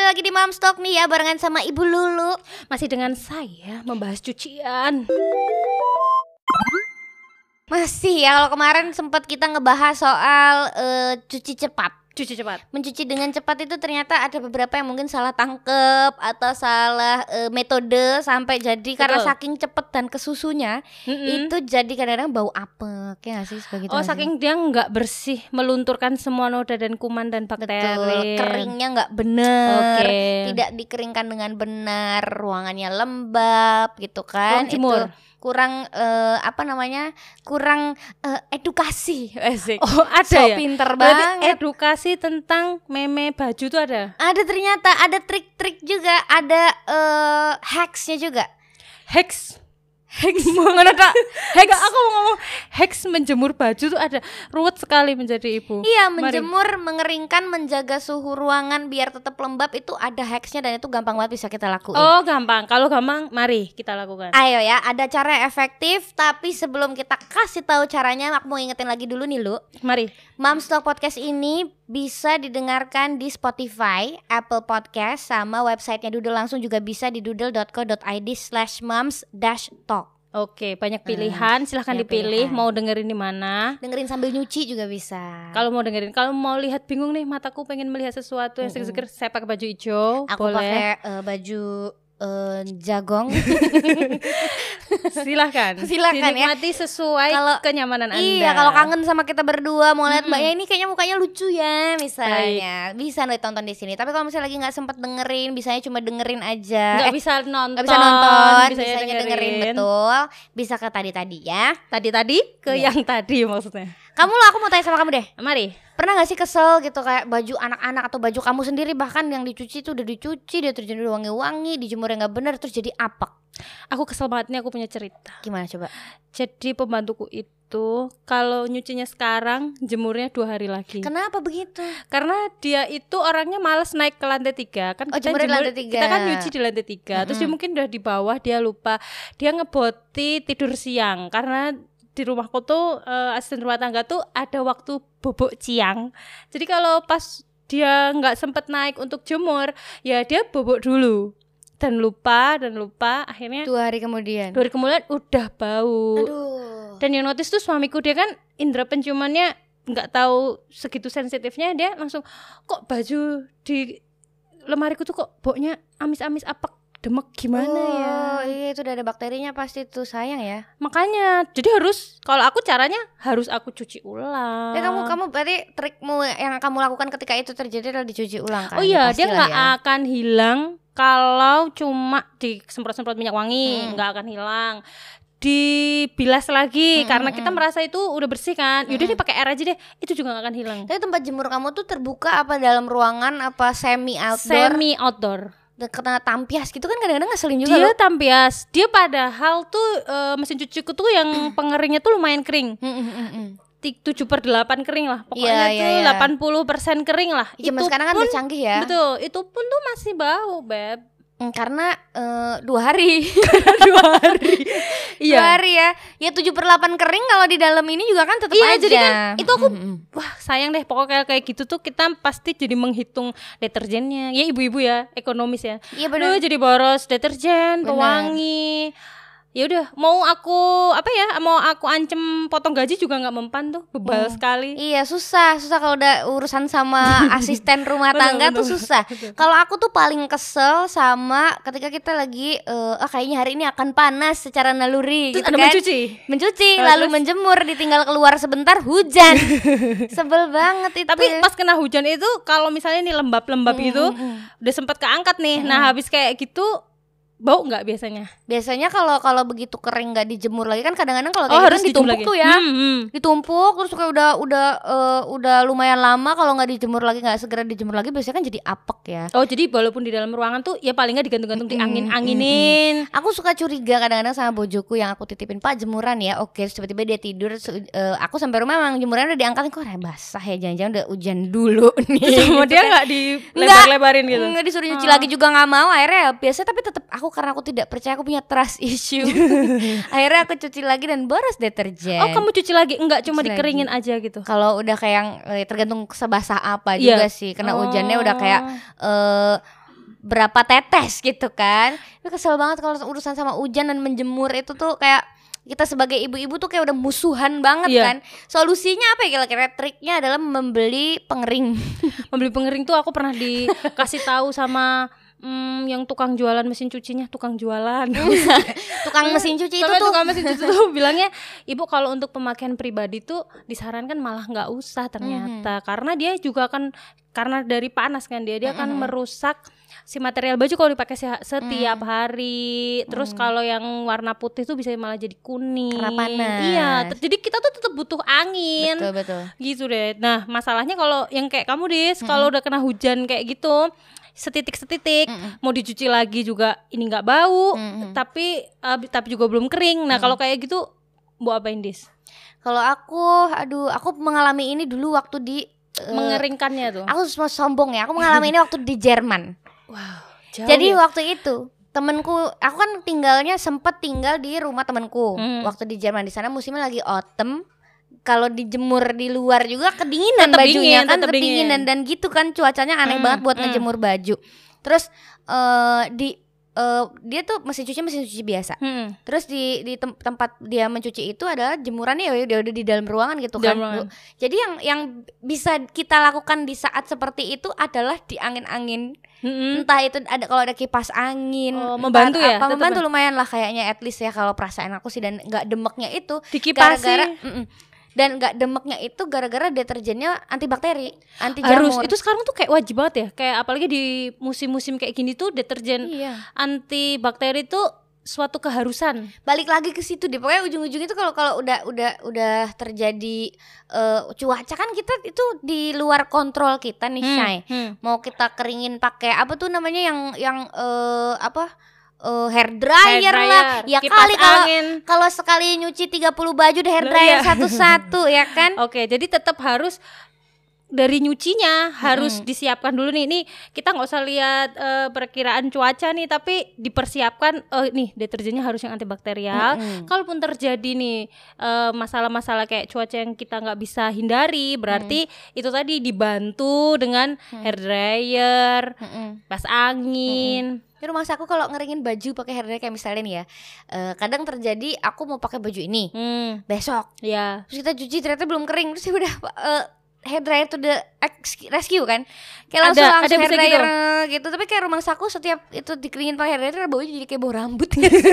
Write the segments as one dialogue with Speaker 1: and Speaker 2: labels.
Speaker 1: lagi di Mamstok nih ya barengan sama Ibu Lulu.
Speaker 2: Masih dengan saya membahas cucian.
Speaker 1: Masih ya kalau kemarin sempat kita ngebahas soal eh, cuci cepat.
Speaker 2: Cuci cepat.
Speaker 1: Mencuci dengan cepat itu ternyata ada beberapa yang mungkin salah tangkep atau salah eh, metode sampai jadi karena
Speaker 2: Betul.
Speaker 1: saking cepet dan kesusunya
Speaker 2: Mm-mm.
Speaker 1: itu jadi kadang-kadang bau apek ya nggak sih sebagai
Speaker 2: oh saking dia nggak bersih melunturkan semua noda dan kuman dan
Speaker 1: betul
Speaker 2: bakteri.
Speaker 1: keringnya nggak bener.
Speaker 2: Oke.
Speaker 1: Tidak dikeringkan dengan benar, ruangannya lembab gitu kan.
Speaker 2: Kurang jemur.
Speaker 1: Itu kurang eh, apa namanya? kurang eh, edukasi. Asik.
Speaker 2: Oh ada
Speaker 1: so
Speaker 2: ya.
Speaker 1: pinter
Speaker 2: Berarti
Speaker 1: banget.
Speaker 2: edukasi tentang meme baju tuh ada.
Speaker 1: ada ternyata ada trik-trik juga, ada eh, hacksnya juga.
Speaker 2: Hex. Hex. Ngono tak? Hex. aku mau ngomong hex menjemur baju tuh ada ruwet sekali menjadi ibu.
Speaker 1: Iya,
Speaker 2: Mari.
Speaker 1: menjemur, mengeringkan, menjaga suhu ruangan biar tetap lembab itu ada hacksnya dan itu gampang banget bisa kita lakuin.
Speaker 2: Oh gampang. Kalau gampang, mari kita lakukan.
Speaker 1: Ayo ya, ada cara efektif tapi sebelum kita kasih tahu caranya aku mau ingetin lagi dulu nih lu.
Speaker 2: Mari.
Speaker 1: Mamstock Podcast ini bisa didengarkan di Spotify, Apple Podcast, sama websitenya Doodle langsung juga bisa di doodle.co.id slash moms dash talk.
Speaker 2: Oke, banyak pilihan. Silahkan
Speaker 1: Eh, banyak
Speaker 2: dipilih
Speaker 1: pilihan.
Speaker 2: mau dengerin di mana.
Speaker 1: Dengerin sambil nyuci juga bisa.
Speaker 2: Kalau mau dengerin, kalau mau lihat bingung nih mataku pengen melihat sesuatu yang
Speaker 1: Mm-mm.
Speaker 2: seger-seger, saya pakai baju hijau,
Speaker 1: Aku
Speaker 2: boleh.
Speaker 1: pakai eh, baju eh, jagong.
Speaker 2: Silahkan.
Speaker 1: Silakan ya.
Speaker 2: Dinikmati sesuai
Speaker 1: Kalau-
Speaker 2: kenyamanan Anda.
Speaker 1: iya, kalau kangen sama kita berdua mau lihat
Speaker 2: Mm-mm.
Speaker 1: mbaknya ini kayaknya mukanya lucu ya misalnya. Bisa nih tonton di sini. Tapi kalau misalnya lagi nggak sempet dengerin, bisanya cuma dengerin aja.
Speaker 2: nggak
Speaker 1: Eh,
Speaker 2: bisa nonton,
Speaker 1: nggak bisa nonton, bisanya
Speaker 2: bisanya
Speaker 1: dengerin. betul. Bisa ke tadi-tadi ya.
Speaker 2: Tadi-tadi ke
Speaker 1: Iya.
Speaker 2: yang tadi maksudnya.
Speaker 1: Kamu lah, aku mau tanya sama kamu deh.
Speaker 2: Mari.
Speaker 1: Pernah gak sih kesel gitu kayak baju anak-anak atau baju kamu sendiri bahkan yang dicuci tuh udah dicuci, deterjen udah wangi-wangi, dijemurnya nggak bener terus jadi apek.
Speaker 2: Aku kesel banget nih aku punya cerita.
Speaker 1: Gimana coba?
Speaker 2: Jadi pembantuku itu kalau nyucinya sekarang, jemurnya dua hari lagi.
Speaker 1: Kenapa begitu?
Speaker 2: Karena dia itu orangnya males naik ke lantai tiga kan
Speaker 1: Oh, jemurnya di lantai tiga.
Speaker 2: kita kan nyuci di lantai tiga terus dia
Speaker 1: Mm-mm.
Speaker 2: mungkin udah di bawah dia lupa dia ngeboti tidur siang karena di rumahku tuh eh, asisten rumah tangga tuh ada waktu bobok siang jadi kalau pas dia nggak sempet naik untuk jemur ya dia bobok dulu dan lupa dan lupa akhirnya
Speaker 1: Dua hari kemudian.
Speaker 2: dua hari kemudian udah bau
Speaker 1: Aduh.
Speaker 2: dan yang notice tuh suamiku dia kan indera penciumannya nggak tahu segitu sensitifnya dia langsung kok baju di lemariku tuh kok boknya amis-amis apek demek gimana ya
Speaker 1: Oh, iya itu udah ada bakterinya pasti tuh sayang ya.
Speaker 2: makanya jadi harus kalau aku caranya harus aku cuci ulang
Speaker 1: Tapi Ya, kamu kamu berarti trikmu yang kamu lakukan ketika itu terjadi adalah dicuci ulang kan?
Speaker 2: oh iya dia
Speaker 1: Pastilah
Speaker 2: nggak
Speaker 1: ya.
Speaker 2: akan hilang kalau cuma disemprot-semprot minyak wangi
Speaker 1: Hmm.
Speaker 2: nggak akan hilang dibilas lagi
Speaker 1: Hmm,
Speaker 2: karena
Speaker 1: hmm,
Speaker 2: kita
Speaker 1: hmm.
Speaker 2: merasa itu udah bersih kan yaudah
Speaker 1: Hmm.
Speaker 2: deh pakai air aja deh itu juga nggak akan hilang
Speaker 1: Tapi tempat jemur kamu tuh terbuka apa dalam ruangan apa semi outdoor?
Speaker 2: semi outdoor
Speaker 1: Kena tampias gitu kan kadang-kadang ngeselin juga
Speaker 2: dia
Speaker 1: loh.
Speaker 2: tampias dia padahal tuh eh, mesin cuciku tuh yang pengeringnya tuh lumayan kering
Speaker 1: Hmm, hmm, hmm, hmm.
Speaker 2: Ti- 7 per 8 kering lah
Speaker 1: Iya,
Speaker 2: pokoknya
Speaker 1: iya, iya.
Speaker 2: tuh 80% kering lah
Speaker 1: Zaman sekarang kan
Speaker 2: pun,
Speaker 1: udah canggih ya.
Speaker 2: betul itu pun tuh masih bau beb
Speaker 1: Mm, Karena eh, dua hari,
Speaker 2: dua hari
Speaker 1: dua
Speaker 2: iya
Speaker 1: hari ya. Ya tujuh per delapan kering kalau di dalam ini juga kan tetap
Speaker 2: Iya,
Speaker 1: aja.
Speaker 2: jadi kan itu aku-
Speaker 1: Mm, mm, mm.
Speaker 2: wah sayang deh pokoknya kayak- kayak gitu tuh kita pasti jadi menghitung deterjennya ya ibu-ibu ya ekonomis ya
Speaker 1: Iya benar.
Speaker 2: Aduh jadi boros
Speaker 1: Bener.
Speaker 2: deterjen, pewangi. Ya udah, mau aku apa ya? Mau aku ancem potong gaji juga nggak mempan tuh, bebal
Speaker 1: Hmm.
Speaker 2: sekali.
Speaker 1: Iya susah, susah kalau udah urusan sama asisten rumah
Speaker 2: Bener,
Speaker 1: tangga tuh
Speaker 2: bener.
Speaker 1: susah. Kalau aku tuh paling kesel sama ketika kita lagi eh, ah kayaknya hari ini akan panas secara naluri
Speaker 2: Terus
Speaker 1: gitu
Speaker 2: ada
Speaker 1: kan.
Speaker 2: mencuci.
Speaker 1: Mencuci,
Speaker 2: Nah,
Speaker 1: lalu
Speaker 2: terus?
Speaker 1: menjemur, ditinggal keluar sebentar hujan. Sebel banget itu. ya.
Speaker 2: Tapi pas kena hujan itu kalau misalnya ini lembab-lembab
Speaker 1: Mm,
Speaker 2: gitu,
Speaker 1: mm, mm.
Speaker 2: udah sempat keangkat nih.
Speaker 1: Hmm.
Speaker 2: Nah, habis kayak gitu bau nggak biasanya?
Speaker 1: biasanya kalau kalau begitu kering nggak dijemur lagi kan kadang-kadang kalau kayak
Speaker 2: Oh,
Speaker 1: gitu
Speaker 2: harus
Speaker 1: kan
Speaker 2: dijemur
Speaker 1: ditumpuk
Speaker 2: lagi.
Speaker 1: tuh ya.
Speaker 2: Hmm, hmm.
Speaker 1: ditumpuk terus kayak udah udah eh, udah lumayan lama kalau nggak dijemur lagi nggak segera dijemur lagi biasanya kan jadi apek ya
Speaker 2: Oh, jadi walaupun di dalam ruangan tuh ya paling nggak digantung-gantung di
Speaker 1: Mm,
Speaker 2: angin-anginin.
Speaker 1: aku suka curiga kadang-kadang sama bojoku yang aku titipin pak jemuran ya oke terus tiba-tiba dia tidur terus, eh, aku sampai rumah emang jemuran udah diangkatin kok "Nah, basah ya jangan-jangan udah hujan dulu nih
Speaker 2: Terus
Speaker 1: Gitu
Speaker 2: kemudian
Speaker 1: kan.
Speaker 2: nggak dilebar-lebarin Iya, gitu.
Speaker 1: nggak disuruh nyuci
Speaker 2: Ah.
Speaker 1: lagi juga nggak mau akhirnya ya biasanya tapi tetap aku karena aku tidak percaya aku punya trust issue akhirnya aku cuci lagi dan boros deterjen
Speaker 2: Oh, kamu cuci lagi? Enggak, cuma
Speaker 1: Cuci lagi.
Speaker 2: dikeringin aja gitu.
Speaker 1: kalau udah kayak yang eh, tergantung sebasah apa
Speaker 2: Iya.
Speaker 1: juga sih kena hujannya udah kayak
Speaker 2: Oh.
Speaker 1: eh berapa tetes gitu kan. Tapi kesel banget kalau urusan sama hujan dan menjemur itu tuh kayak kita sebagai ibu-ibu tuh kayak udah musuhan banget
Speaker 2: Iya.
Speaker 1: kan. Solusinya apa ya kira-kira triknya adalah membeli pengering.
Speaker 2: Membeli pengering tuh aku pernah dikasih tahu sama mm, yang tukang jualan mesin cucinya, tukang jualan.
Speaker 1: Tukang mesin cuci itu
Speaker 2: Sampai
Speaker 1: gitu tuh
Speaker 2: tukang mesin cuci tuh bilangnya, "Ibu kalau untuk pemakaian pribadi tuh disarankan malah nggak usah ternyata
Speaker 1: Mm-hmm.
Speaker 2: karena dia juga kan karena dari panas kan dia dia kan
Speaker 1: Mhm.
Speaker 2: merusak si material baju kalau dipakai se- setiap
Speaker 1: Mm.
Speaker 2: hari. Terus kalau yang warna putih tuh bisa malah jadi kuning.
Speaker 1: Karena panas.
Speaker 2: Iya, ter- jadi kita tuh tetap butuh angin
Speaker 1: betul betul.
Speaker 2: gitu deh. Nah, masalahnya kalau yang kayak kamu Dis, kalau udah kena hujan kayak gitu, setitik-setitik
Speaker 1: Mm-mm.
Speaker 2: mau dicuci lagi juga ini nggak bau,
Speaker 1: Mm-mm.
Speaker 2: tapi eh, tapi juga belum kering. Nah, kalau kayak gitu mau apain Dis?
Speaker 1: Kalau aku, aduh, aku mengalami ini dulu waktu di eh,
Speaker 2: Mengeringkannya tuh.
Speaker 1: Aku semua sombong ya. Aku mengalami ini waktu di Jerman.
Speaker 2: Wow. jauh
Speaker 1: Jadi
Speaker 2: ya.
Speaker 1: waktu itu temenku, aku kan tinggalnya sempet tinggal di rumah temenku
Speaker 2: Hmm.
Speaker 1: waktu di Jerman di sana musimnya lagi autumn. Kalau dijemur di luar juga kedinginan
Speaker 2: Tetep
Speaker 1: bajunya
Speaker 2: dingin,
Speaker 1: kan
Speaker 2: tetep
Speaker 1: kedinginan dan gitu kan cuacanya aneh
Speaker 2: Hmm,
Speaker 1: banget buat
Speaker 2: hmm.
Speaker 1: ngejemur baju. Terus eh, di eh, dia tuh mesin cuci mesin cuci biasa.
Speaker 2: Hmm.
Speaker 1: Terus di di tem- tempat dia mencuci itu adalah jemurannya ya udah udah di dalam ruangan gitu
Speaker 2: Dalam
Speaker 1: kan.
Speaker 2: ruangan.
Speaker 1: Bu. Jadi yang yang bisa kita lakukan di saat seperti itu adalah di angin-angin.
Speaker 2: Mm-mm.
Speaker 1: Entah itu ada kalau ada kipas angin
Speaker 2: Hmm? Oh,
Speaker 1: entah
Speaker 2: membantu ya,
Speaker 1: Apa
Speaker 2: tetep
Speaker 1: membantu
Speaker 2: ya?
Speaker 1: lumayan lah kayaknya at least ya kalau perasaan aku sih dan nggak demeknya itu
Speaker 2: Dikipasi.
Speaker 1: gara-gara Mm-mm. dan nggak demeknya itu gara-gara deterjennya antibakteri, anti
Speaker 2: harus
Speaker 1: jamur.
Speaker 2: itu sekarang tuh kayak wajib banget ya. Kayak apalagi di musim-musim kayak gini tuh deterjen
Speaker 1: Iya.
Speaker 2: antibakteri tuh suatu keharusan.
Speaker 1: balik lagi ke situ deh pokoknya ujung-ujungnya itu kalau kalau udah udah udah terjadi eh, cuaca kan kita itu di luar kontrol kita nih
Speaker 2: Hmm,
Speaker 1: Shay
Speaker 2: hmm.
Speaker 1: mau kita keringin pakai apa tuh namanya yang yang eh, apa Eh, hair dryer,
Speaker 2: Hair
Speaker 1: lah
Speaker 2: dryer,
Speaker 1: ya
Speaker 2: kipas
Speaker 1: kali kalau
Speaker 2: angin.
Speaker 1: kalau sekali nyuci 30 baju udah hair
Speaker 2: Loh,
Speaker 1: dryer
Speaker 2: iya.
Speaker 1: satu-satu ya kan
Speaker 2: Oke, jadi tetap harus dari nyucinya harus
Speaker 1: Mm-mm.
Speaker 2: disiapkan dulu nih. Nih kita nggak usah lihat eh, perkiraan cuaca nih, tapi dipersiapkan eh, nih deterjennya harus yang antibakterial.
Speaker 1: Mm-mm.
Speaker 2: Kalaupun terjadi nih eh, masalah-masalah kayak cuaca yang kita nggak bisa hindari, berarti itu tadi dibantu dengan
Speaker 1: Mm.
Speaker 2: hair dryer,
Speaker 1: Mm-mm.
Speaker 2: pas angin.
Speaker 1: Di rumah aku kalau ngeringin baju pakai hair dryer kayak misalnya nih ya eh, kadang terjadi aku mau pakai baju ini
Speaker 2: Hmm,
Speaker 1: besok
Speaker 2: ya.
Speaker 1: terus kita cuci ternyata belum kering terus ya udah eh, hair dryer to the ex- rescue kan kayak langsung
Speaker 2: Ada-
Speaker 1: langsung
Speaker 2: ada
Speaker 1: hair
Speaker 2: bisa
Speaker 1: dryer
Speaker 2: gitu?
Speaker 1: eh, gitu. tapi kayak rumah saku setiap itu dikeringin pakai hair dryer baunya jadi kayak bau rambut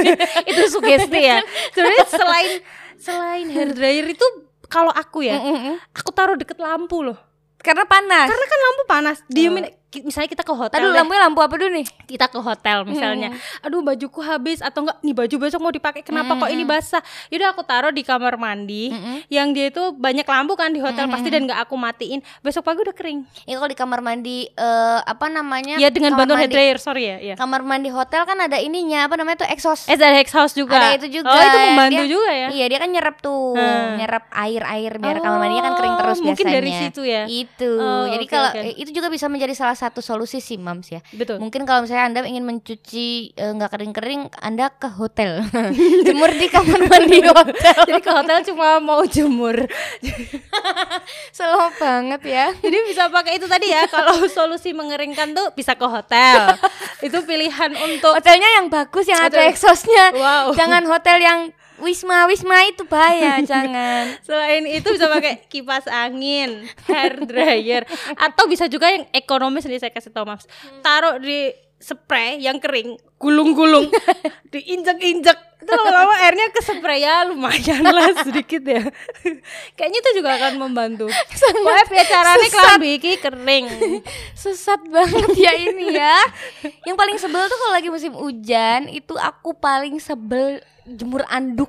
Speaker 2: itu sugesti ya. Sebenarnya selain selain hair dryer itu kalau aku ya,
Speaker 1: Mm-mm.
Speaker 2: aku taruh deket lampu loh.
Speaker 1: karena panas
Speaker 2: karena kan lampu panas diemin ki- misalnya kita ke
Speaker 1: Eh.
Speaker 2: hotel
Speaker 1: Aduh
Speaker 2: deh.
Speaker 1: lampunya lampu apa dulu nih
Speaker 2: kita ke hotel misalnya aduh bajuku habis atau enggak nih baju besok mau dipakai kenapa kok ini basah yaudah aku taruh di kamar mandi
Speaker 1: Mm.
Speaker 2: yang dia itu banyak lampu kan di hotel pasti dan nggak aku matiin besok pagi udah kering
Speaker 1: ya kalau di kamar mandi eh, apa namanya
Speaker 2: ya dengan
Speaker 1: kamar
Speaker 2: bantuan hair
Speaker 1: mandi,
Speaker 2: dryer sorry ya ya
Speaker 1: kamar mandi hotel kan ada ininya apa namanya tuh exhaust
Speaker 2: eh ada house juga
Speaker 1: Ada itu juga.
Speaker 2: oh itu membantu
Speaker 1: Dia-
Speaker 2: juga ya
Speaker 1: iya dia kan nyerap tuh
Speaker 2: Hmm.
Speaker 1: nyerap air air biar kamar mandinya kan kering
Speaker 2: Oh,
Speaker 1: terus
Speaker 2: mungkin
Speaker 1: biasanya Iya.
Speaker 2: dari situ ya
Speaker 1: itu
Speaker 2: Oh,
Speaker 1: jadi
Speaker 2: oke,
Speaker 1: kalau
Speaker 2: oke.
Speaker 1: eh, itu juga bisa menjadi salah satu solusi sih mams ya
Speaker 2: betul
Speaker 1: Mungkin kalau misalnya Anda ingin mencuci eh, nggak kering-kering, Anda ke hotel. Jemur di kamar mandi hotel.
Speaker 2: jadi ke hotel cuma mau jemur
Speaker 1: Slow banget ya.
Speaker 2: Jadi bisa pakai itu tadi ya kalau solusi mengeringkan tuh bisa ke hotel. itu pilihan untuk
Speaker 1: Hotelnya yang bagus yang ada
Speaker 2: Hotel-
Speaker 1: exhaustnya.
Speaker 2: wow.
Speaker 1: Jangan hotel yang Wisma Wisma itu bahaya, jangan.
Speaker 2: Selain itu bisa pakai kipas angin, hair dryer, atau bisa juga yang ekonomis nih saya kasih tau Mams. Taruh di spray yang kering, gulung-gulung, diinjek-injek. Itu lama-lama airnya ke spray ya lumayan lah sedikit ya. Kayaknya itu juga akan membantu. Pokoknya biar caranya kelambi iki kering.
Speaker 1: Sesat banget ya ini ya. Yang paling sebel tuh kalau lagi musim hujan, itu aku paling sebel jemur anduk.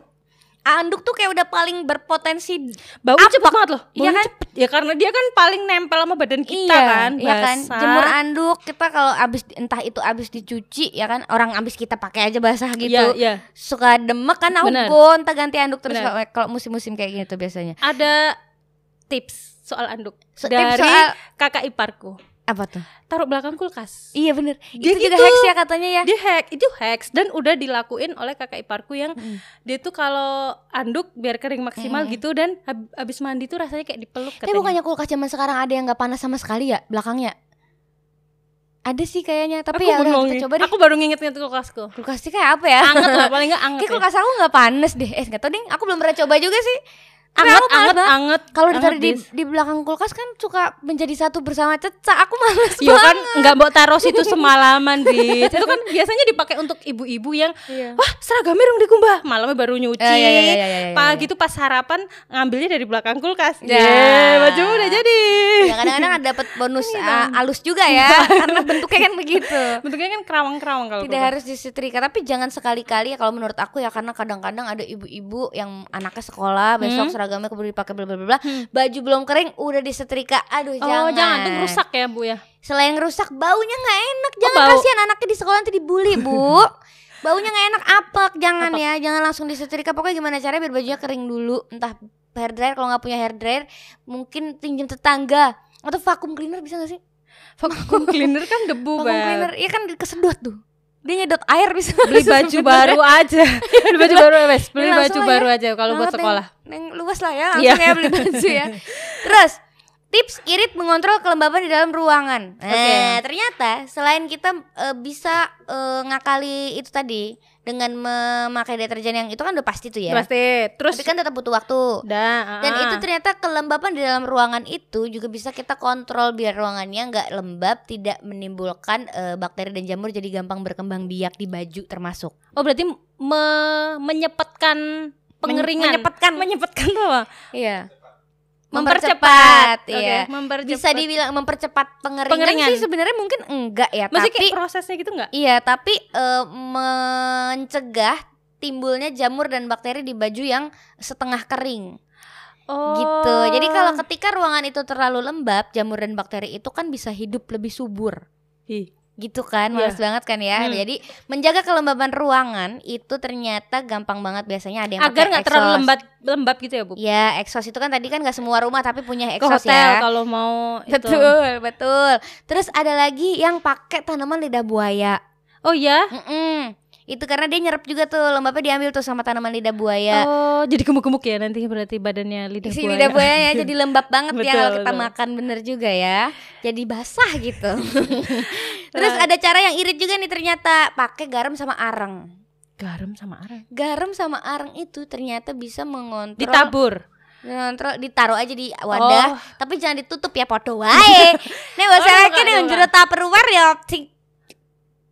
Speaker 1: Anduk tuh kayak udah paling berpotensi
Speaker 2: Bau
Speaker 1: Apa?
Speaker 2: cepet banget loh.
Speaker 1: Iya
Speaker 2: Baunya
Speaker 1: kan?
Speaker 2: cepet. Ya karena dia kan paling nempel sama badan kita kan.
Speaker 1: iya kan
Speaker 2: basah.
Speaker 1: jemur anduk kita kalau abis entah itu abis dicuci ya kan orang abis kita pakai aja basah gitu
Speaker 2: Iya, iya.
Speaker 1: suka demek kan aku
Speaker 2: Bener.
Speaker 1: gonta ganti anduk terus
Speaker 2: Bener.
Speaker 1: kalau- kalau musim-musim kayak gini tuh biasanya
Speaker 2: Ada tips soal anduk
Speaker 1: So- tips
Speaker 2: dari
Speaker 1: soal-
Speaker 2: kakak iparku.
Speaker 1: apa tuh
Speaker 2: taruh belakang kulkas.
Speaker 1: iya bener
Speaker 2: Dia
Speaker 1: itu juga
Speaker 2: gitu.
Speaker 1: hacks ya katanya ya
Speaker 2: Dia hack, itu hacks dan udah dilakuin oleh kakak iparku yang
Speaker 1: Hmm.
Speaker 2: dia tuh kalau anduk biar kering maksimal
Speaker 1: Mm-mm.
Speaker 2: gitu dan hab- habis mandi tuh rasanya kayak dipeluk
Speaker 1: Iya. tapi
Speaker 2: katanya.
Speaker 1: bukannya kulkas zaman sekarang ada yang nggak panas sama sekali ya belakangnya Ada sih kayaknya, tapi
Speaker 2: aku
Speaker 1: ya udah
Speaker 2: bengong
Speaker 1: kita
Speaker 2: nih.
Speaker 1: coba deh.
Speaker 2: Aku baru nginget-nginget kulkasku.
Speaker 1: Kulkasnya kayak apa ya?
Speaker 2: Anget lah, paling enggak anget.
Speaker 1: Kayak kulkas aku nggak panas deh. Eh nggak tau deh, aku belum pernah coba juga sih. Kayak aku
Speaker 2: anget,
Speaker 1: males
Speaker 2: anget,
Speaker 1: banget.
Speaker 2: anget.
Speaker 1: Kalau
Speaker 2: Anget,
Speaker 1: ditaruh di,
Speaker 2: Dis.
Speaker 1: di belakang kulkas kan suka menjadi satu bersama cecak. Aku males
Speaker 2: Ya
Speaker 1: banget.
Speaker 2: kan nggak mau taruh situ semalaman di. Itu kan biasanya dipakai untuk ibu-ibu yang wah seragamnya rong dikumbah malamnya baru nyuci.
Speaker 1: Eh, iya, iya, iya, iya, iya,
Speaker 2: Pagi tuh pas sarapan ngambilnya dari belakang kulkas.
Speaker 1: Ya.
Speaker 2: Yeay, bajumu udah jadi.
Speaker 1: Ya kadang-kadang ada dapat bonus uh, alus juga ya karena bentuknya kan begitu.
Speaker 2: Bentuknya kan kerawang-kerawang kalau
Speaker 1: Tidak harus disetrika, tapi jangan sekali-kali ya kalau menurut aku ya karena kadang-kadang ada ibu-ibu yang anaknya sekolah
Speaker 2: Hmm.
Speaker 1: besok seragamnya keburu dipakai bla bla bla bla, baju belum kering udah disetrika. Aduh
Speaker 2: Oh
Speaker 1: jangan.
Speaker 2: jangan, tuh rusak ya bu ya
Speaker 1: Selain rusak baunya nggak enak. Jangan
Speaker 2: bau.
Speaker 1: kasihan anaknya di sekolah nanti dibully, Bu. baunya nggak enak apek, jangan ya. Jangan langsung disetrika. Pokoknya gimana caranya biar bajunya kering dulu. Entah hair dryer kalau nggak punya hair dryer mungkin pinjam tetangga atau vakum cleaner bisa nggak sih?
Speaker 2: Vacuum cleaner kan debu
Speaker 1: Vakum
Speaker 2: banget
Speaker 1: cleaner, iya kan kesedot tuh. Dia nyedot air bisa
Speaker 2: Beli baju baru aja Beli baju baru eh, wes Beli
Speaker 1: Langsung
Speaker 2: baju
Speaker 1: aja.
Speaker 2: baru aja kalau buat
Speaker 1: Banget,
Speaker 2: sekolah
Speaker 1: Neng, neng luas lah ya, langsung
Speaker 2: Iya.
Speaker 1: ya beli baju ya. Terus tips irit mengontrol kelembaban di dalam ruangan. Nah, ternyata selain kita eh, bisa eh, ngakali itu tadi dengan memakai deterjen yang itu kan udah pasti tuh ya.
Speaker 2: Pasti Terus
Speaker 1: Tapi kan tetap butuh waktu.
Speaker 2: Dah,
Speaker 1: Dan
Speaker 2: ah.
Speaker 1: itu ternyata kelembapan di dalam ruangan itu juga bisa kita kontrol biar ruangannya nggak lembab, tidak menimbulkan eh, bakteri dan jamur jadi gampang berkembang biak di baju termasuk.
Speaker 2: Oh berarti me- menyepetkan pengeringan
Speaker 1: menyepetkan.
Speaker 2: Menyepetkan apa?
Speaker 1: Iya.
Speaker 2: Mempercepat,
Speaker 1: Mempercepat, iya.
Speaker 2: Oke, mempercepat.
Speaker 1: bisa dibilang mempercepat pengeringan,
Speaker 2: Pengeringan.
Speaker 1: sih sebenarnya mungkin enggak ya
Speaker 2: Masih
Speaker 1: tapi
Speaker 2: kayak prosesnya gitu nggak?
Speaker 1: iya tapi eh, mencegah timbulnya jamur dan bakteri di baju yang setengah kering
Speaker 2: Oh.
Speaker 1: gitu jadi kalau ketika ruangan itu terlalu lembab jamur dan bakteri itu kan bisa hidup lebih subur
Speaker 2: Ih,
Speaker 1: gitu kan males banget kan ya
Speaker 2: Hmm.
Speaker 1: jadi menjaga kelembaban ruangan itu ternyata gampang banget biasanya ada yang
Speaker 2: agar
Speaker 1: pakai
Speaker 2: nggak terlalu
Speaker 1: exhaust.
Speaker 2: lembab lembab gitu ya bu?
Speaker 1: ya exhaust itu kan tadi kan nggak semua rumah tapi punya
Speaker 2: Ke
Speaker 1: exhaust
Speaker 2: hotel
Speaker 1: ya
Speaker 2: kalau mau itu.
Speaker 1: Betul, betul. Terus ada lagi yang pakai tanaman lidah buaya.
Speaker 2: Oh ya?
Speaker 1: Mm-mm. Itu karena dia nyerap juga tuh lembabnya diambil tuh sama tanaman lidah buaya.
Speaker 2: Oh jadi gemuk-gemuk ya nanti berarti badannya lidah
Speaker 1: Ya. Isi
Speaker 2: buaya.
Speaker 1: lidah buaya jadi lembab banget ya
Speaker 2: Betul,
Speaker 1: kalau kita
Speaker 2: betul.
Speaker 1: makan bener juga ya. Jadi basah gitu. Terus ada cara yang irit juga nih ternyata pakai garam sama arang.
Speaker 2: Garam sama arang.
Speaker 1: Garam sama arang itu ternyata bisa mengontrol
Speaker 2: Ditabur.
Speaker 1: Ngontrol ditaruh aja di wadah,
Speaker 2: Oh.
Speaker 1: tapi jangan ditutup ya podo wae. Nek wis
Speaker 2: Oh,
Speaker 1: saiki
Speaker 2: enggak,
Speaker 1: nek
Speaker 2: enggak.
Speaker 1: jero tupperware ya sing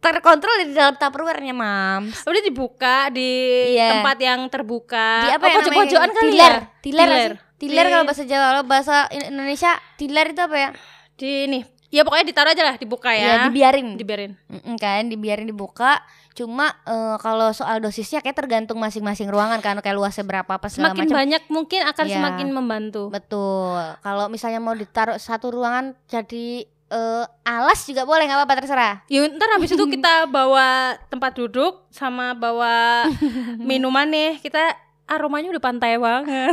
Speaker 1: terkontrol di dalam tupperware-nya, Mam.
Speaker 2: Udah dibuka di
Speaker 1: Iya.
Speaker 2: tempat yang terbuka.
Speaker 1: Di apa
Speaker 2: Oh,
Speaker 1: ya namanya?
Speaker 2: pojok-pojokan
Speaker 1: Tiler.
Speaker 2: kali ya?
Speaker 1: Tiler.
Speaker 2: Tiler.
Speaker 1: Tiler, tiler
Speaker 2: Di-
Speaker 1: kalau bahasa Jawa, kalau bahasa In- Indonesia tiler itu apa ya?
Speaker 2: Di nih. Ya pokoknya ditaruh aja lah dibuka
Speaker 1: Ya,
Speaker 2: ya.
Speaker 1: dibiarin.
Speaker 2: Dibiarin.
Speaker 1: Mm-mm, kan dibiarin dibuka. Cuma eh, kalau soal dosisnya kayak tergantung masing-masing ruangan kan kayak luasnya berapa apa segala
Speaker 2: Semakin
Speaker 1: macam.
Speaker 2: banyak mungkin akan
Speaker 1: Iya.
Speaker 2: semakin membantu.
Speaker 1: Betul. Kalau misalnya mau ditaruh satu ruangan jadi eh, alas juga boleh nggak apa-apa terserah.
Speaker 2: Ya ntar habis itu kita bawa tempat duduk sama bawa minuman nih kita aromanya udah pantai banget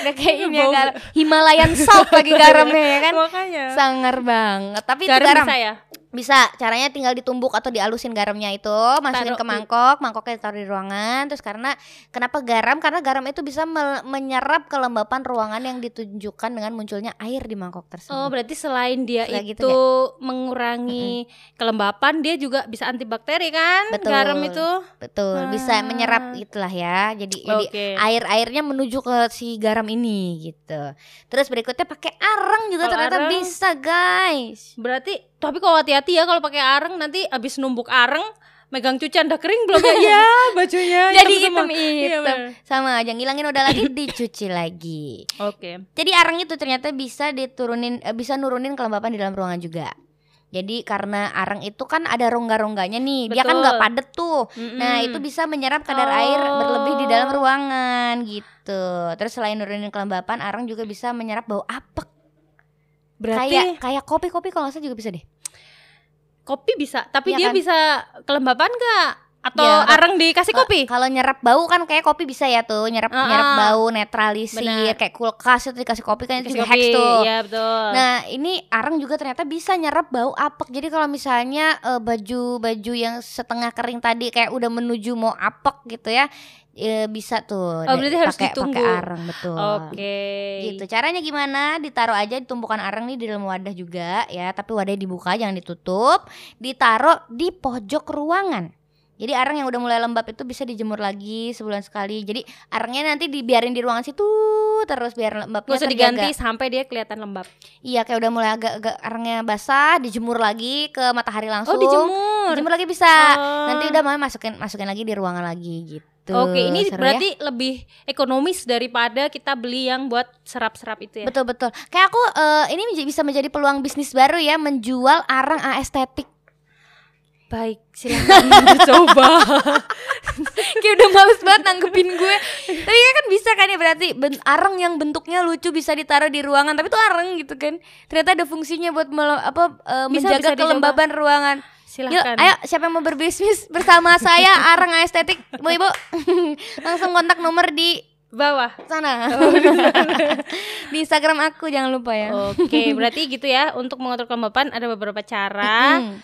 Speaker 1: Udah kayak ini ya
Speaker 2: Bau-
Speaker 1: garam. Himalayan salt lagi garamnya ya kan.
Speaker 2: makanya
Speaker 1: Sangar banget. Tapi itu
Speaker 2: garam,
Speaker 1: garam
Speaker 2: bisa ya
Speaker 1: bisa. Caranya tinggal ditumbuk atau dialusin garamnya itu, masukin
Speaker 2: Taruh
Speaker 1: ke
Speaker 2: di-
Speaker 1: mangkok, mangkoknya taruh di ruangan. Terus karena kenapa garam? Karena garam itu bisa mel- menyerap kelembapan ruangan yang ditunjukkan dengan munculnya air di mangkok
Speaker 2: oh
Speaker 1: tersebut.
Speaker 2: berarti selain dia
Speaker 1: Kayak gitu
Speaker 2: itu mengurangi kelembapan dia juga bisa antibakteri kan
Speaker 1: Betul.
Speaker 2: garam itu
Speaker 1: Betul, bisa
Speaker 2: Ah.
Speaker 1: menyerap itulah ya. Jadi jadi
Speaker 2: Oke.
Speaker 1: air-airnya menuju ke si garam ini gitu. Terus berikutnya pakai arang juga
Speaker 2: Kalau
Speaker 1: ternyata
Speaker 2: arang-
Speaker 1: bisa, guys.
Speaker 2: berarti tapi kalau hati-hati ya kalau pakai areng nanti habis numbuk areng megang cucian udah kering belum ya ya bajunya
Speaker 1: Jadi
Speaker 2: hitam semua.
Speaker 1: hitam
Speaker 2: Iya,
Speaker 1: hitam
Speaker 2: bener.
Speaker 1: sama aja ngilangin udah lagi dicuci lagi.
Speaker 2: oke
Speaker 1: Jadi arang itu ternyata bisa diturunin eh, bisa nurunin kelembapan di dalam ruangan juga. Jadi karena arang itu kan ada rongga-rongganya nih, dia kan
Speaker 2: Betul.
Speaker 1: nggak padet tuh.
Speaker 2: Mm-mm.
Speaker 1: Nah itu bisa menyerap kadar air
Speaker 2: Oh.
Speaker 1: berlebih di dalam ruangan gitu. Terus selain nurunin kelembapan, arang juga bisa menyerap bau apek.
Speaker 2: berarti
Speaker 1: Kayak kayak kopi-kopi kalau nggak salah juga bisa deh.
Speaker 2: kopi bisa tapi
Speaker 1: Iya
Speaker 2: dia
Speaker 1: kan?
Speaker 2: bisa kelembapan gak atau
Speaker 1: Ya, kalau-
Speaker 2: arang dikasih kopi
Speaker 1: Kalau nyerap bau kan kayak kopi bisa ya tuh, nyerap
Speaker 2: Ah,
Speaker 1: nyerap
Speaker 2: ah.
Speaker 1: bau, netralisir,
Speaker 2: Benar.
Speaker 1: kayak kulkas itu dikasih kopi kan itu
Speaker 2: Dikasih
Speaker 1: juga hacks tuh.
Speaker 2: Iya betul.
Speaker 1: Nah, ini arang juga ternyata bisa nyerap bau apek. Jadi kalau misalnya eh, baju-baju yang setengah kering tadi kayak udah menuju mau apek gitu ya, eh, bisa tuh.
Speaker 2: Oh,
Speaker 1: da-
Speaker 2: berarti harus
Speaker 1: pakai-
Speaker 2: ditunggu.
Speaker 1: Pakai arang betul.
Speaker 2: Oke.
Speaker 1: Gitu. Caranya gimana? Ditaruh aja ditumpukan arang nih di dalam wadah juga ya, tapi wadahnya dibuka jangan ditutup, ditaruh di pojok ruangan. Jadi arang yang udah mulai lembab itu bisa dijemur lagi sebulan sekali. Jadi arangnya nanti dibiarin di ruangan situ terus biar lembabnya
Speaker 2: Gak usah
Speaker 1: terjaga.
Speaker 2: diganti sampai dia kelihatan lembab.
Speaker 1: Iya kayak udah mulai agak-agak arangnya basah, dijemur lagi ke matahari langsung.
Speaker 2: Oh, dijemur.
Speaker 1: Dijemur lagi bisa.
Speaker 2: Oh.
Speaker 1: Nanti udah mau masukin masukin lagi di ruangan lagi gitu.
Speaker 2: Oke, ini
Speaker 1: Seru ya?
Speaker 2: berarti lebih ekonomis daripada kita beli yang buat serap-serap itu ya.
Speaker 1: betul betul. Kayak aku eh, ini menj- bisa menjadi peluang bisnis baru ya menjual arang aestetik.
Speaker 2: Baik, silakan dicoba.
Speaker 1: kayak udah males banget nanggepin gue. tapi kan bisa kan ya berarti ben- arang yang bentuknya lucu bisa ditaruh di ruangan tapi itu arang gitu kan. Ternyata ada fungsinya buat mele- apa eh,
Speaker 2: Bisa,
Speaker 1: menjaga
Speaker 2: bisa dicoba.
Speaker 1: kelembaban ruangan.
Speaker 2: Silakan.
Speaker 1: Yuk, ayo siapa yang mau berbisnis bersama saya Arang Estetik, Bu Ibu. Langsung kontak nomor di
Speaker 2: Bawah.
Speaker 1: sana. di Instagram aku jangan lupa ya.
Speaker 2: Oke, berarti gitu ya. Untuk mengatur kelembapan ada beberapa cara.
Speaker 1: Mm,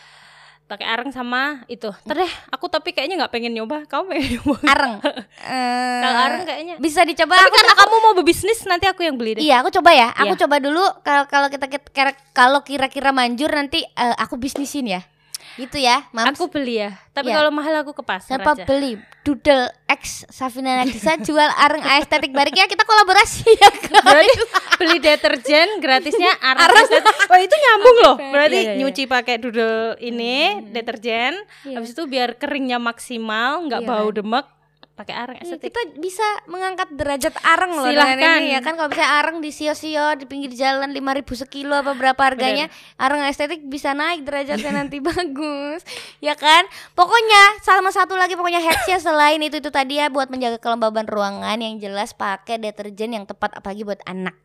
Speaker 2: Pakai arang sama itu. Ntar deh, aku tapi kayaknya nggak pengen nyoba. Kamu pengen nyoba?
Speaker 1: Arang. Eh,
Speaker 2: Kalau arang kayaknya.
Speaker 1: bisa dicoba.
Speaker 2: Tapi
Speaker 1: Aku
Speaker 2: karena kamu mau berbisnis, nanti aku yang beli deh.
Speaker 1: Iya, aku coba ya. Aku
Speaker 2: Iya.
Speaker 1: coba dulu kalau kalau kita kita- kira- kalau kira-kira manjur nanti eh, aku bisnisin ya. Gitu ya, Mams.
Speaker 2: Aku beli ya. Tapi
Speaker 1: Iya.
Speaker 2: kalau mahal aku ke pasar
Speaker 1: Siapa
Speaker 2: aja.
Speaker 1: beli Doodle X Safina Nagisa jual arang aestetik Bari ya kita kolaborasi ya guys.
Speaker 2: Berarti beli deterjen gratisnya arang Wah itu nyambung loh. Berarti
Speaker 1: Iya, Hmm. iya, iya.
Speaker 2: nyuci pakai dudel ini deterjen. Habis itu biar keringnya maksimal, nggak
Speaker 1: Iya
Speaker 2: bau
Speaker 1: kan?
Speaker 2: demek, pakai arang
Speaker 1: Iya,
Speaker 2: estetik.
Speaker 1: kita bisa mengangkat derajat arang loh
Speaker 2: Silahkan.
Speaker 1: dengan ini ya kan kalau misalnya arang di sio-sio di pinggir jalan 5000 sekilo apa berapa harganya arang estetik bisa naik derajatnya nanti bagus ya kan pokoknya sama satu lagi pokoknya hacksnya selain itu itu tadi ya buat menjaga kelembaban ruangan yang jelas pakai deterjen yang tepat apalagi buat anak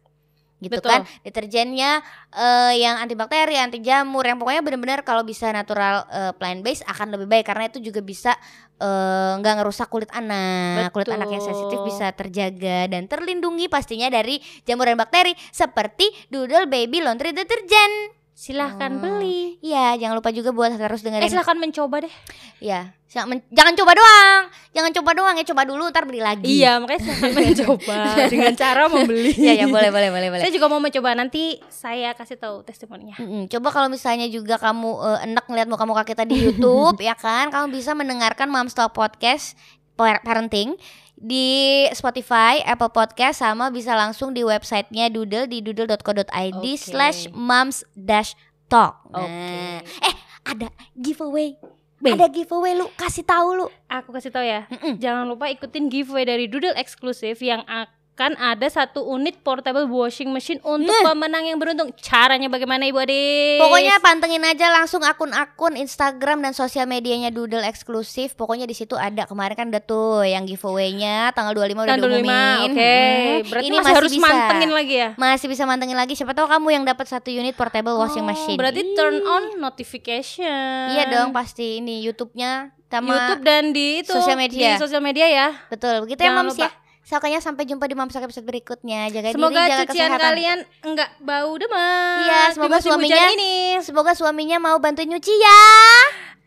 Speaker 1: gitu
Speaker 2: Betul.
Speaker 1: kan deterjennya eh, yang antibakteri anti jamur yang pokoknya benar-benar kalau bisa natural plant based akan lebih baik karena itu juga bisa eh, nggak ngerusak kulit anak kulit anak yang sensitif
Speaker 2: Betul.
Speaker 1: bisa terjaga dan terlindungi pastinya dari jamur dan bakteri seperti Doodle Baby Laundry Deterjen
Speaker 2: Silahkan
Speaker 1: Oh.
Speaker 2: beli.
Speaker 1: Iya, jangan lupa juga buat harus
Speaker 2: Eh
Speaker 1: dengerin.
Speaker 2: silahkan mencoba deh.
Speaker 1: Iya, jangan, men- jangan coba doang. Jangan coba doang ya, coba dulu ntar beli lagi.
Speaker 2: Iya makanya silahkan mencoba dengan cara membeli.
Speaker 1: Iya, ya boleh boleh boleh boleh.
Speaker 2: Saya juga mau mencoba nanti saya kasih tahu testimoninya.
Speaker 1: Mm-mm. Coba kalau misalnya juga kamu eh, enak ngeliat muka-muka kita di YouTube ya kan, kamu bisa mendengarkan Moms Talk Podcast Par- Parenting di Spotify, Apple Podcast sama bisa langsung di websitenya Doodle di doodle.co.id
Speaker 2: Oke.
Speaker 1: slash moms dash talk.
Speaker 2: Oke.
Speaker 1: Nah, eh ada giveaway.
Speaker 2: Wih.
Speaker 1: Ada giveaway lu kasih tahu lu.
Speaker 2: Aku kasih tahu ya.
Speaker 1: Mm-mm.
Speaker 2: Jangan lupa ikutin giveaway dari Doodle eksklusif yang akan ada satu unit portable washing machine untuk pemenang yang beruntung. Caranya bagaimana Ibu Ade?
Speaker 1: Nah. Pokoknya pantengin aja langsung akun-akun Instagram dan sosial medianya Doodle eksklusif. Pokoknya di situ ada kemarin kan udah tuh yang giveaway-nya tanggal 25 udah
Speaker 2: tanggal 25.
Speaker 1: diumumin.
Speaker 2: Oke.
Speaker 1: Hmm.
Speaker 2: Berarti
Speaker 1: Ini
Speaker 2: masih, harus
Speaker 1: bisa.
Speaker 2: mantengin lagi ya.
Speaker 1: Masih bisa mantengin lagi siapa tahu kamu yang dapat satu unit portable washing
Speaker 2: Oh,
Speaker 1: machine.
Speaker 2: Berarti
Speaker 1: Ih.
Speaker 2: turn on notification.
Speaker 1: Iya dong pasti ini YouTube-nya sama
Speaker 2: YouTube dan di itu
Speaker 1: sosial media.
Speaker 2: di sosial media ya.
Speaker 1: Betul. Begitu ya
Speaker 2: Jangan
Speaker 1: Mams ya.
Speaker 2: lupa.
Speaker 1: Sokanya sampai jumpa di Mams Talk episode berikutnya. Jaga
Speaker 2: Semoga
Speaker 1: diri, jaga
Speaker 2: cucian
Speaker 1: kesehatan.
Speaker 2: kalian enggak bau demak.
Speaker 1: Iya,
Speaker 2: di
Speaker 1: semoga
Speaker 2: musim hujan
Speaker 1: suaminya-
Speaker 2: ini.
Speaker 1: Semoga suaminya mau bantuin nyuci ya.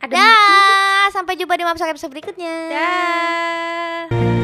Speaker 2: Ada
Speaker 1: Dah, sampai jumpa di Mams Talk episode berikutnya.
Speaker 2: Dah.